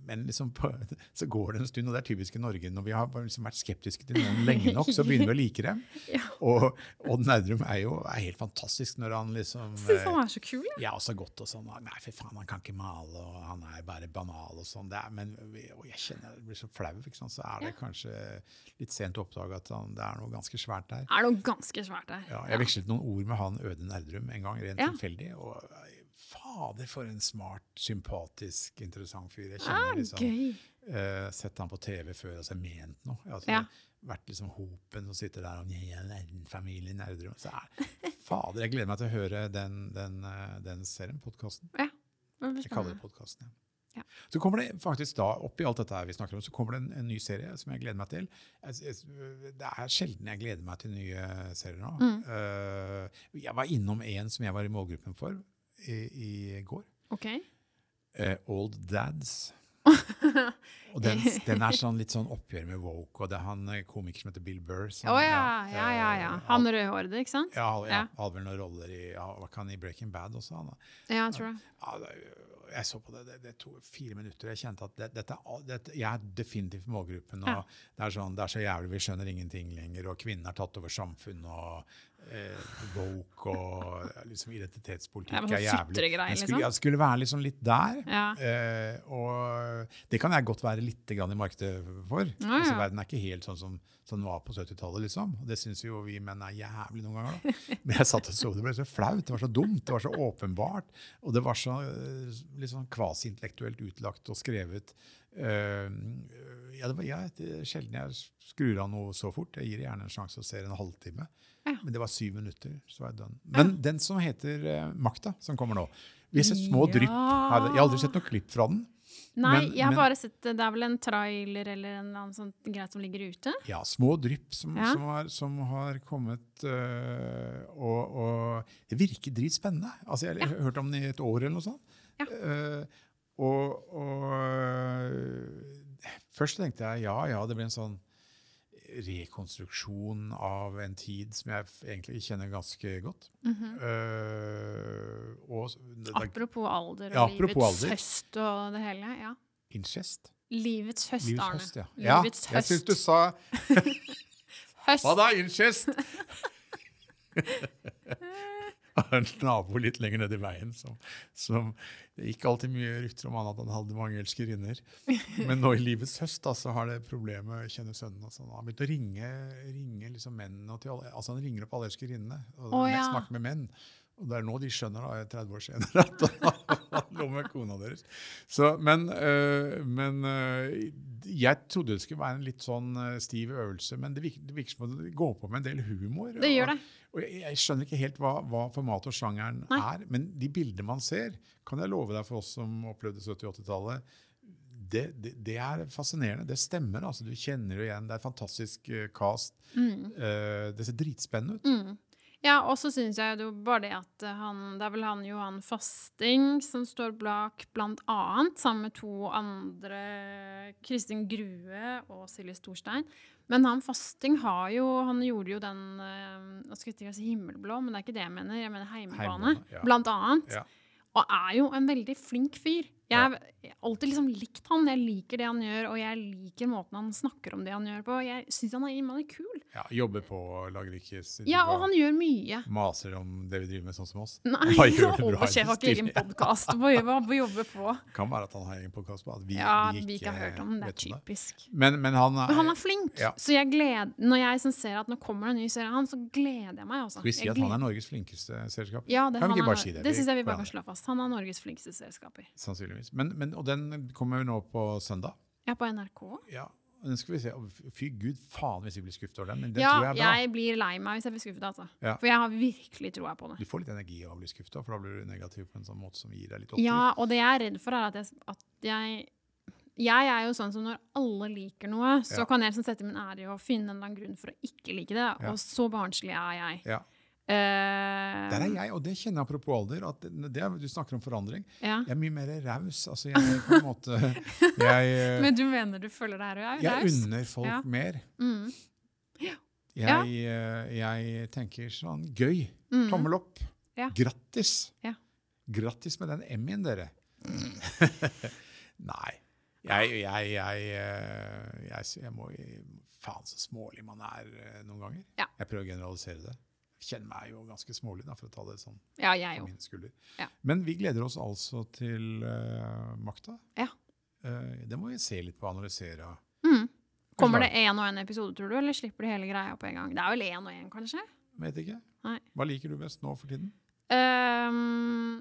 Speaker 2: Men liksom på, så går det en stund, og det er typisk i Norge. Når vi har bare liksom vært skeptiske til noen lenge nok, så begynner vi å like dem.
Speaker 1: Ja.
Speaker 2: Og Odd Nerdrum er jo er helt fantastisk når han liksom
Speaker 1: Syns
Speaker 2: eh,
Speaker 1: han er så kul. jeg.
Speaker 2: ja, og så godt og sånn. og Nei, fy faen, han kan ikke male, og han er bare banal og sånn. Det er, men vi- og jeg kjenner jeg blir så flau, ikke sant? så er det kanskje litt sent å oppdage at han, det er noe ganske svært der.
Speaker 1: Er noe ganske svært der.
Speaker 2: Ja, jeg vekslet noen ord med han Øde Nerdrum en gang, rent
Speaker 1: Ja.
Speaker 2: tilfeldig. Og fader, for en smart, sympatisk, interessant fyr. Jeg
Speaker 1: Ah,
Speaker 2: kjenner liksom
Speaker 1: gøy.
Speaker 2: eh, Sett han på TV før, altså ment noe. Altså,
Speaker 1: Ja.
Speaker 2: Vært liksom hopen som sitter der og «Ja, Nerdrum, familien Nerdrum. Så er, fader, jeg gleder meg til å høre den, den, eh, den serien, podkasten.
Speaker 1: Ja. Det blir
Speaker 2: Jeg
Speaker 1: spennende.
Speaker 2: kaller det podkasten, ja.
Speaker 1: Ja.
Speaker 2: Så kommer det faktisk da, oppi alt dette her vi snakker om, så kommer det en, en ny serie som jeg gleder meg til. Jeg, jeg, det er sjelden jeg gleder meg til nye serier nå.
Speaker 1: Mm.
Speaker 2: Eh, jeg var innom en som jeg var i målgruppen for i, i går.
Speaker 1: Ok.
Speaker 2: Eh, Old Dads. Og den, den er sånn litt sånn oppgjør med woke, og det er han eh, komikeren som heter Bill Burr. som-
Speaker 1: Å ja, ja, ja. ja.
Speaker 2: eh,
Speaker 1: Han rødhårede, ikke sant?
Speaker 2: ja, han ja,
Speaker 1: Ja.
Speaker 2: hadde vel noen roller i, ja, var ikke han i Breaking Bad også. Han, da?
Speaker 1: Ja, jeg tror det.
Speaker 2: Ja, det- jeg så på det, det, det tok fire minutter. Jeg kjente at det, dette, er all- dette, jeg er definitivt målgruppen. Og
Speaker 1: Ja.
Speaker 2: det, er sånn, det er så jævlig, vi skjønner ingenting lenger. Og kvinnen har tatt over samfunn, og eh, woke og liksom
Speaker 1: Ja,
Speaker 2: identitetspolitikk
Speaker 1: men
Speaker 2: er
Speaker 1: sånn
Speaker 2: jævlig.
Speaker 1: sutregreier,
Speaker 2: Jeg
Speaker 1: liksom.
Speaker 2: skulle, jeg skulle være liksom litt der.
Speaker 1: Ja.
Speaker 2: Eh, og det kan jeg godt være litt grann i markedet for.
Speaker 1: ja.
Speaker 2: Altså, verden er ikke helt sånn som som den var på 70-tallet. liksom. Og Det syns jo vi menn er jævlig noen ganger. da. Men jeg satt og så, det ble så flaut. Det var så dumt, det var så åpenbart. Og det var så eh, litt sånn kvasiintellektuelt utlagt og skrevet. Eh, ja, det var, ja, det er sjelden jeg skrur av noe så fort. Jeg gir gjerne en sjanse og ser en halvtime.
Speaker 1: Ja.
Speaker 2: Men det var syv minutter, så var jeg done. Men den som heter eh, Makta, som kommer nå Vi har sett små
Speaker 1: Ja.
Speaker 2: drypp. her. Jeg har aldri sett noe klipp fra den.
Speaker 1: Nei,
Speaker 2: Men-
Speaker 1: jeg har
Speaker 2: men-
Speaker 1: bare sett det. Det er vel en trailer eller en eller annen sånn greie som ligger ute.
Speaker 2: Ja, små drypp som,
Speaker 1: Ja.
Speaker 2: som, har, som har kommet øh, og, og Det virker dritspennende. Altså, jeg har hørt om den i et år eller noe sånt.
Speaker 1: Ja.
Speaker 2: Eh, og, og øh, først tenkte jeg ja, ja, det blir en sånn rekonstruksjon av en tid som jeg f- egentlig kjenner ganske godt.
Speaker 1: Mhm.
Speaker 2: Eh, og s- det, det er
Speaker 1: Apropos alder og
Speaker 2: Ja, apropos
Speaker 1: livets
Speaker 2: alder.
Speaker 1: høst og det hele. Ja.
Speaker 2: incest.
Speaker 1: Livets høst,
Speaker 2: Livets
Speaker 1: Arne.
Speaker 2: høst, ja. ja
Speaker 1: Livets
Speaker 2: jeg syns
Speaker 1: høst.
Speaker 2: du sa
Speaker 1: høst.
Speaker 2: Hva da, incest? Har en nabo litt lenger ned i veien som, som Det gikk alltid mye rykter om han at han hadde mange elskerinner. Men nå i livets høst da, så har det problemet kjenner sønnen. Og sånn. Han har begynt å ringe, ringe liksom mennene. Og til alle, altså han ringer opp alle elskerinnene og
Speaker 1: Å, ja.
Speaker 2: snakker med menn. Og det er nå de skjønner, da, 30 år senere, at han han lå med kona deres. Så, men øh, men øh, jeg trodde det skulle være en litt sånn øh, stiv øvelse, men det virker, det virker som om det går på med en del humor.
Speaker 1: Det gjør det.
Speaker 2: Og, og jeg, jeg skjønner ikke helt hva, hva formatet og sjangeren
Speaker 1: Nei.
Speaker 2: er, men de bildene man ser, kan jeg love deg for oss som opplevde 70- og 80-tallet, det, det, det er fascinerende. Det stemmer. altså Du kjenner det igjen. Det er et fantastisk øh, cast.
Speaker 1: Mm.
Speaker 2: Eh, det ser dritspennende ut.
Speaker 1: Ja, og så syns jeg jo bare det at eh, han Det er vel han Johan Fasting som står bak, blant annet, sammen med to andre Kristin Grue og Silje Storstein. Men han Fasting har jo Han gjorde jo den eh, Nå skal jeg ikke si himmelblå, men det er ikke det jeg mener. Jeg mener Heimebane,
Speaker 2: Heimebane, ja.
Speaker 1: blant annet.
Speaker 2: Ja.
Speaker 1: Og er jo en veldig flink fyr. Jeg har alltid liksom likt han. Jeg liker det han gjør, og jeg liker måten han snakker om det han gjør på. Jeg syns han er innmari kul.
Speaker 2: Ja, jobber på, lager ikke sitter
Speaker 1: Ja,
Speaker 2: bra.
Speaker 1: og han gjør mye.
Speaker 2: maser om det vi driver med, sånn som oss.
Speaker 1: Nei,
Speaker 2: Hva
Speaker 1: jeg
Speaker 2: gjør du
Speaker 1: håper
Speaker 2: bra?
Speaker 1: sjef har ikke egen podkast. Hva hva jobber på?
Speaker 2: Kan være at han har egen podkast på at vi,
Speaker 1: Ja,
Speaker 2: vi ikke,
Speaker 1: vi ikke har hørt om den. Det
Speaker 2: vet
Speaker 1: er typisk.
Speaker 2: Men, men han er,
Speaker 1: Men han er flink,
Speaker 2: Ja.
Speaker 1: så jeg gleder, når jeg sånn ser at nå kommer det en ny serie av han, så gleder jeg meg. Også.
Speaker 2: Skal vi si
Speaker 1: Jeg
Speaker 2: at han
Speaker 1: gleder-
Speaker 2: er Norges flinkeste selskap?
Speaker 1: ja, det,
Speaker 2: kan
Speaker 1: han
Speaker 2: vi ikke
Speaker 1: er
Speaker 2: bare
Speaker 1: Nor-
Speaker 2: si det?
Speaker 1: Det
Speaker 2: Vi
Speaker 1: syns jeg vi bare
Speaker 2: kan
Speaker 1: kan slå fast. Han er Norges flinkeste selskaper.
Speaker 2: Sannsynligvis. Men, men, og den kommer jo nå på søndag.
Speaker 1: Ja, på NRK.
Speaker 2: Ja. og Den skal vi se. Og Fy gud faen hvis vi blir skuffet over den, men den
Speaker 1: ja,
Speaker 2: tror jeg er bra.
Speaker 1: jeg blir lei meg hvis jeg blir skuffet, altså.
Speaker 2: Ja.
Speaker 1: For jeg har virkelig troa på det.
Speaker 2: Du får litt energi av å bli skuffet, for da blir du negativ på en sånn måte som gir deg litt opptur.
Speaker 1: Ja, og det jeg er redd for, er at jeg, at jeg jeg er jo sånn som når alle liker noe, så
Speaker 2: Ja.
Speaker 1: kan jeg liksom sette min ære i å finne en eller annen grunn for å ikke like det.
Speaker 2: Ja.
Speaker 1: Og så barnslig er jeg.
Speaker 2: Ja.
Speaker 1: Eh,
Speaker 2: Der er jeg, og det kjenner jeg apropos alder. at det, det, er- Du snakker om forandring.
Speaker 1: Ja.
Speaker 2: Jeg er mye mer raus. Altså, jeg er på en måte jeg, eh,
Speaker 1: Men du mener du føler det her og jeg er
Speaker 2: Jeg
Speaker 1: raus?
Speaker 2: unner folk
Speaker 1: Ja.
Speaker 2: mer.
Speaker 1: Mm. Ja.
Speaker 2: Jeg, eh, jeg tenker sånn gøy.
Speaker 1: Mm.
Speaker 2: Tommel opp.
Speaker 1: Ja.
Speaker 2: Grattis.
Speaker 1: Ja.
Speaker 2: Grattis med den M-en, dere.
Speaker 1: Mm.
Speaker 2: Nei. Jeg, jeg, jeg, eh, jeg, sy- jeg må Faen, så smålig man er eh, noen ganger.
Speaker 1: Ja.
Speaker 2: Jeg prøver å generalisere det. Jeg Kjenner meg jo ganske smålig, da, for å ta det sånn
Speaker 1: Ja, jeg
Speaker 2: på
Speaker 1: òg.
Speaker 2: min skulder.
Speaker 1: Ja.
Speaker 2: Men vi gleder oss altså til eh, makta.
Speaker 1: Ja.
Speaker 2: Eh, det må vi se litt på og analysere.
Speaker 1: Mm. Kommer det én og én episode, tror du, eller slipper de hele greia på en gang? Det er vel én og én, kanskje?
Speaker 2: Vet ikke.
Speaker 1: Nei.
Speaker 2: Hva liker du best nå for tiden?
Speaker 1: Ehm,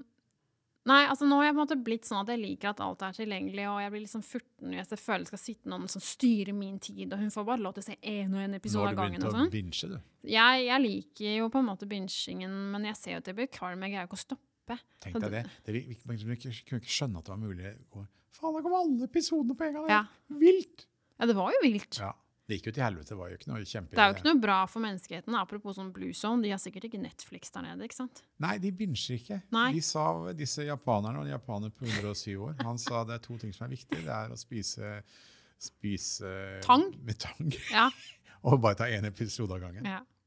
Speaker 1: nei, altså nå har jeg på en måte blitt sånn at jeg liker at alt er tilgjengelig, og jeg blir litt sånn furten hvis jeg føler det skal sitte noen som styrer min tid, og hun får bare lov til å se én og én
Speaker 2: nå
Speaker 1: episode av
Speaker 2: har du begynt
Speaker 1: gangen og
Speaker 2: å
Speaker 1: sånn.
Speaker 2: binche, du.
Speaker 1: Jeg, jeg liker jo på en måte bingingen, men jeg ser jo at jeg blir kvalm, jeg greier jo ikke å stoppe.
Speaker 2: Tenk
Speaker 1: Så
Speaker 2: deg det.
Speaker 1: det-
Speaker 2: det vi, vi, vi kunne ikke, kunne ikke skjønne at det var mulig. å- Faen, da kom alle episodene på en gang! Det
Speaker 1: Ja.
Speaker 2: er Vilt!
Speaker 1: Ja, det var jo vilt.
Speaker 2: Ja. Det gikk jo til helvete. Det var jo ikke noe kjempe...
Speaker 1: Det er jo ikke noe bra for menneskeheten. Apropos sånn Blue Zone, de har sikkert ikke Netflix der nede, ikke sant?
Speaker 2: Nei, de binsjer ikke.
Speaker 1: Nei.
Speaker 2: De sa, disse japanerne og en japaner på 107 år, han sa det er to ting som er viktig. Det er å spise, spise
Speaker 1: Tang?
Speaker 2: Med tang.
Speaker 1: Ja.
Speaker 2: Og bare ta én episode av gangen.
Speaker 1: ja.